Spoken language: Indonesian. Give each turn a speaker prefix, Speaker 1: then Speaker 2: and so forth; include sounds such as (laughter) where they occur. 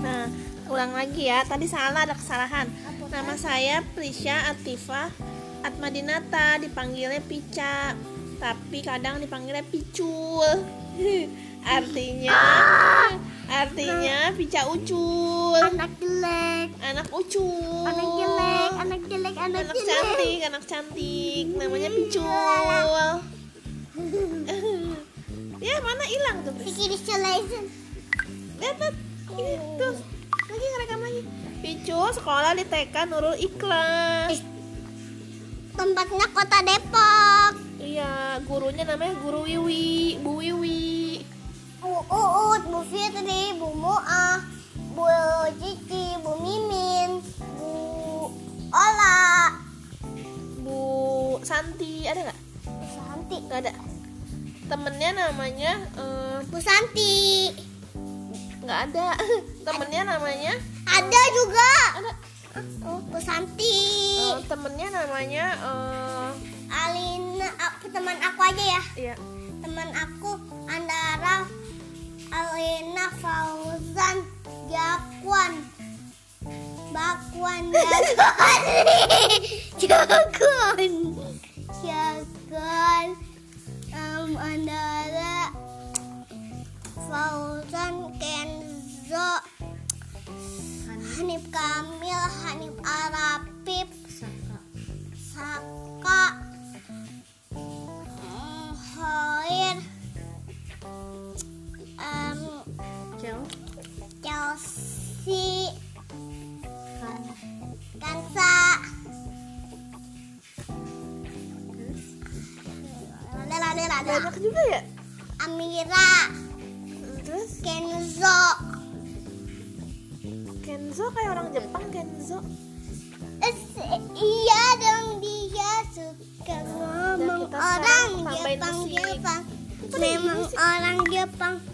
Speaker 1: Nah, ulang lagi ya tadi salah ada kesalahan nama saya Prisha Atifah Atmadinata dipanggilnya Pica tapi kadang dipanggilnya Picul (laughs) artinya artinya Pica Ucul
Speaker 2: anak jelek
Speaker 1: anak Ucul
Speaker 2: anak jelek anak jelek
Speaker 1: Oh. anak
Speaker 2: anak, jelek (laughs) Iya,
Speaker 1: cantik anak cantik namanya Picul (laughs) ya mana hilang tuh Pris?
Speaker 2: Bikin visualization
Speaker 1: Lihat, ini tuh lagi ngerekam lagi. Picu sekolah di TK Nurul Ikhlas.
Speaker 2: tempatnya kota Depok
Speaker 1: Iya, gurunya namanya Guru Wiwi, Bu Wiwi.
Speaker 2: Uut, Bu Fitri, Bu Muah, Bu Cici, Bu Mimin, Bu Ola,
Speaker 1: Bu Santi ada nggak?
Speaker 2: Bu Santi,
Speaker 1: Nggak ada. Temennya namanya eh,
Speaker 2: Bu Santi.
Speaker 1: nggak ada. (laughs) Temennya namanya
Speaker 2: Ada Oh. juga.
Speaker 1: ada.
Speaker 2: Oh, Bu Santi.
Speaker 1: Eh, temennya namanya eh,
Speaker 2: Alina, aku, teman aku aja ya.
Speaker 1: iya.
Speaker 2: Teman aku Andara, Alina, Fauzan, Jakwan. Bakwan Jakwan.
Speaker 1: Jagoan.
Speaker 2: Jagan um, Andara Fauzan Kenzo Hanif Kamil Hanif Arapip Saka um, Hoir um, Chelsea Kansa Lala, lala, lala.
Speaker 1: Banyak juga ya.
Speaker 2: Amira
Speaker 1: Terus
Speaker 2: Kenzo
Speaker 1: Kenzo kayak orang Jepang Kenzo.
Speaker 2: Es, Iya dong dia suka ngomong
Speaker 1: kita sekarang
Speaker 2: orang
Speaker 1: tambahin
Speaker 2: Jepang
Speaker 1: musik.
Speaker 2: Jepang
Speaker 1: Apa nih,
Speaker 2: Memang
Speaker 1: musik?
Speaker 2: orang Jepang
Speaker 1: Nah,